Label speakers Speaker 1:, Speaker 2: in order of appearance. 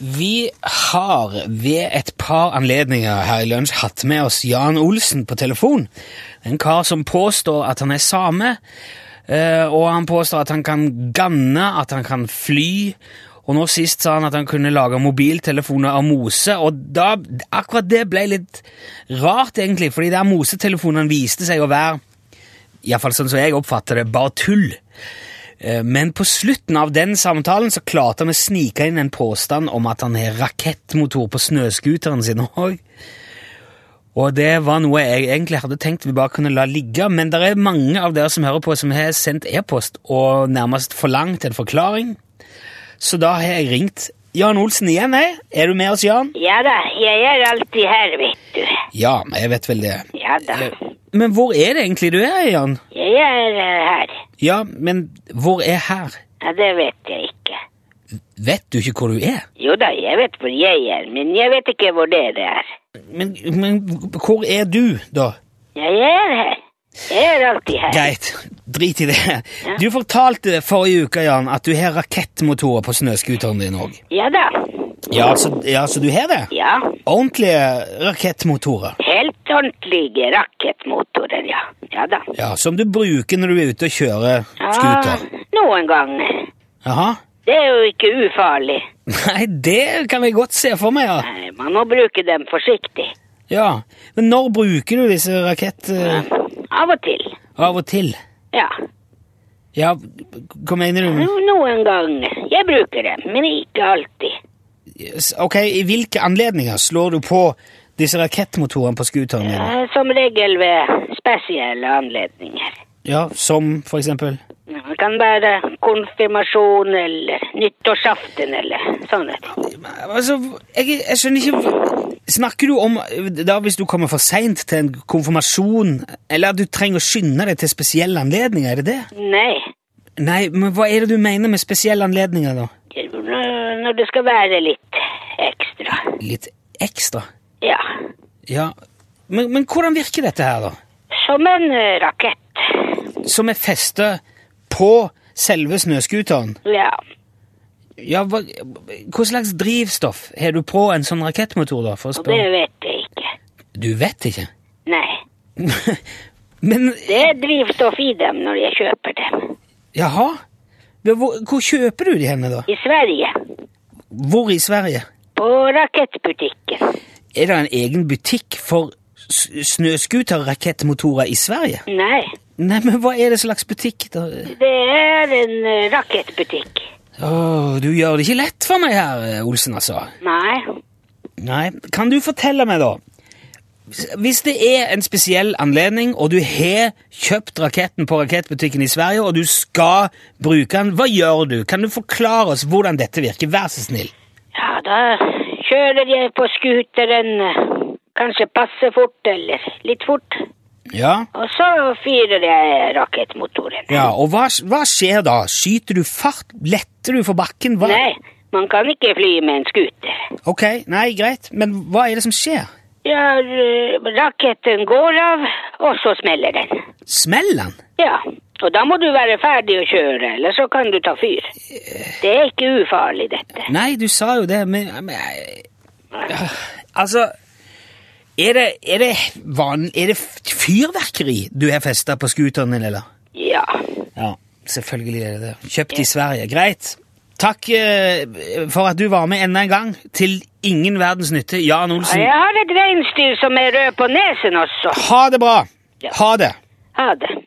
Speaker 1: Vi har ved et par anledninger her i lunsj hatt med oss Jan Olsen på telefon. En kar som påstår at han er same, eh, og han påstår at han kan ganne, at han kan fly. Og nå sist sa han at han kunne lage mobiltelefoner av mose, og da, akkurat det ble litt rart, egentlig, fordi der mosetelefonene viste seg å være, iallfall sånn som jeg oppfatter det, bare tull. Eh, Men på slutten av den samtalen så klarte han å snike inn en påstand om at han har rakettmotor på snøskuteren sin òg. Og det var noe jeg egentlig hadde tenkt vi bare kunne la ligge, men det er mange av dere som hører på, som har sendt e-post og nærmest forlangt en forklaring. Så da har jeg ringt Jan Olsen igjen, jeg. Er du med oss, Jan?
Speaker 2: Ja da, jeg er alltid her, vet du.
Speaker 1: Ja, jeg vet vel det.
Speaker 2: Ja da,
Speaker 1: Eh, Men hvor er det egentlig du er, Jan?
Speaker 2: jeg er eh, her.
Speaker 1: Ja, men hvor er her?
Speaker 2: Ja, det vet jeg ikke.
Speaker 1: Vet du ikke hvor du er?
Speaker 2: Jo da, jeg vet hvor jeg er, men jeg vet ikke hvor dere er.
Speaker 1: Men, men hvor er du, da?
Speaker 2: Ja, jeg er her. Jeg er alltid her.
Speaker 1: Greit, drit i det. Du fortalte forrige uke Jan, at du har rakettmotorer på snøskuteren din òg.
Speaker 2: Ja da.
Speaker 1: Ja, så, ja, så du har det?
Speaker 2: Ja,
Speaker 1: Ordentlige rakettmotorer.
Speaker 2: helt ordentlige rakettmotorer, ja. Ja da.
Speaker 1: Ja, Som du bruker når du er ute og kjører
Speaker 2: Ah,
Speaker 1: scooter.
Speaker 2: noen ganger.
Speaker 1: Jaha?
Speaker 2: Det er jo ikke ufarlig.
Speaker 1: Nei, det kan jeg godt se for meg, ja.
Speaker 2: Nei, Man må bruke dem forsiktig.
Speaker 1: ja. Men når bruker du disse rakettene
Speaker 2: Av og til.
Speaker 1: av og til?
Speaker 2: Ja.
Speaker 1: Ja, hva mener du?
Speaker 2: Jo, Noen ganger. Jeg bruker dem, men ikke alltid.
Speaker 1: Yes, Ok, I hvilke anledninger slår du på disse rakettmotorene på scooteren din?
Speaker 2: Eh, Som regel ved spesielle anledninger.
Speaker 1: Ja, Som for eksempel?
Speaker 2: Det kan være konfirmasjon eller nyttårsaften eller sånne ting.
Speaker 1: Altså, jeg, jeg skjønner ikke Snakker du om da hvis du kommer for seint til en konfirmasjon, eller at du trenger å skynde deg til spesielle anledninger? Er det det?
Speaker 2: Nei,
Speaker 1: Nei, men hva er det du mener med spesielle anledninger, da?
Speaker 2: det- når når det skal være litt ekstra.
Speaker 1: Litt ekstra?
Speaker 2: Ja,
Speaker 1: Ja. Men, men hvordan virker dette her, da?
Speaker 2: som en eh, rakett.
Speaker 1: Som er festet på selve snøscooteren?
Speaker 2: Ja,
Speaker 1: Ja, hva, hva slags drivstoff har du på en sånn rakettmotor, da? For å
Speaker 2: og det
Speaker 1: spørre.
Speaker 2: vet jeg ikke.
Speaker 1: Du vet ikke?
Speaker 2: Nei,
Speaker 1: Men
Speaker 2: det er drivstoff i dem når jeg kjøper dem.
Speaker 1: Jaha? Men Hvor, hvor kjøper du de henne, da?
Speaker 2: I Sverige,
Speaker 1: Hvor i Sverige?
Speaker 2: på rakettbutikken.
Speaker 1: Er det en egen butikk for s- snøskuterrakettmotorer i Sverige?
Speaker 2: Nei,
Speaker 1: Nei, men hva er det slags butikk, da?
Speaker 2: det er en eh, rakettbutikk.
Speaker 1: Åh, du gjør det ikke lett for meg her, Olsen, altså.
Speaker 2: Nei,
Speaker 1: Nei, kan du fortelle meg, da? Hvis det er en spesiell anledning, og du har kjøpt raketten på rakettbutikken i Sverige, og du skal bruke den, hva gjør du? Kan du forklare oss hvordan dette virker? Vær så snill.
Speaker 2: Ja, da kjører jeg på skuteren eh, kanskje passe fort eller litt fort.
Speaker 1: Ja?
Speaker 2: Og så fyrer jeg rakettmotoren.
Speaker 1: Ja, og hva, hva skjer da? Skyter du fart? Letter du for bakken? Hva?
Speaker 2: Nei, man kan ikke fly med en skuter.
Speaker 1: Ok, nei, greit. Men hva er det som skjer?
Speaker 2: Ja, eh, raketten går av, og så smeller den.
Speaker 1: Smeller den?
Speaker 2: Ja, og da må du være ferdig å kjøre, eller så kan du ta fyr. Det er ikke ufarlig, dette.
Speaker 1: Nei, du sa jo det, men, men jeg- Ja, Altså er det, er, det van, er det fyrverkeri du har festa på scooteren din, eller?
Speaker 2: Ja,
Speaker 1: Ja, selvfølgelig er det det. Kjøpt i Sverige. Greit. Takk eh, for at du var med enda en gang. Til ingen verdens nytte, Jan
Speaker 2: og
Speaker 1: Olsen.
Speaker 2: jeg har et reinsdyr som er rød på nesen også.
Speaker 1: Ha det bra!
Speaker 2: Ja.
Speaker 1: Ha det!
Speaker 2: Ha det.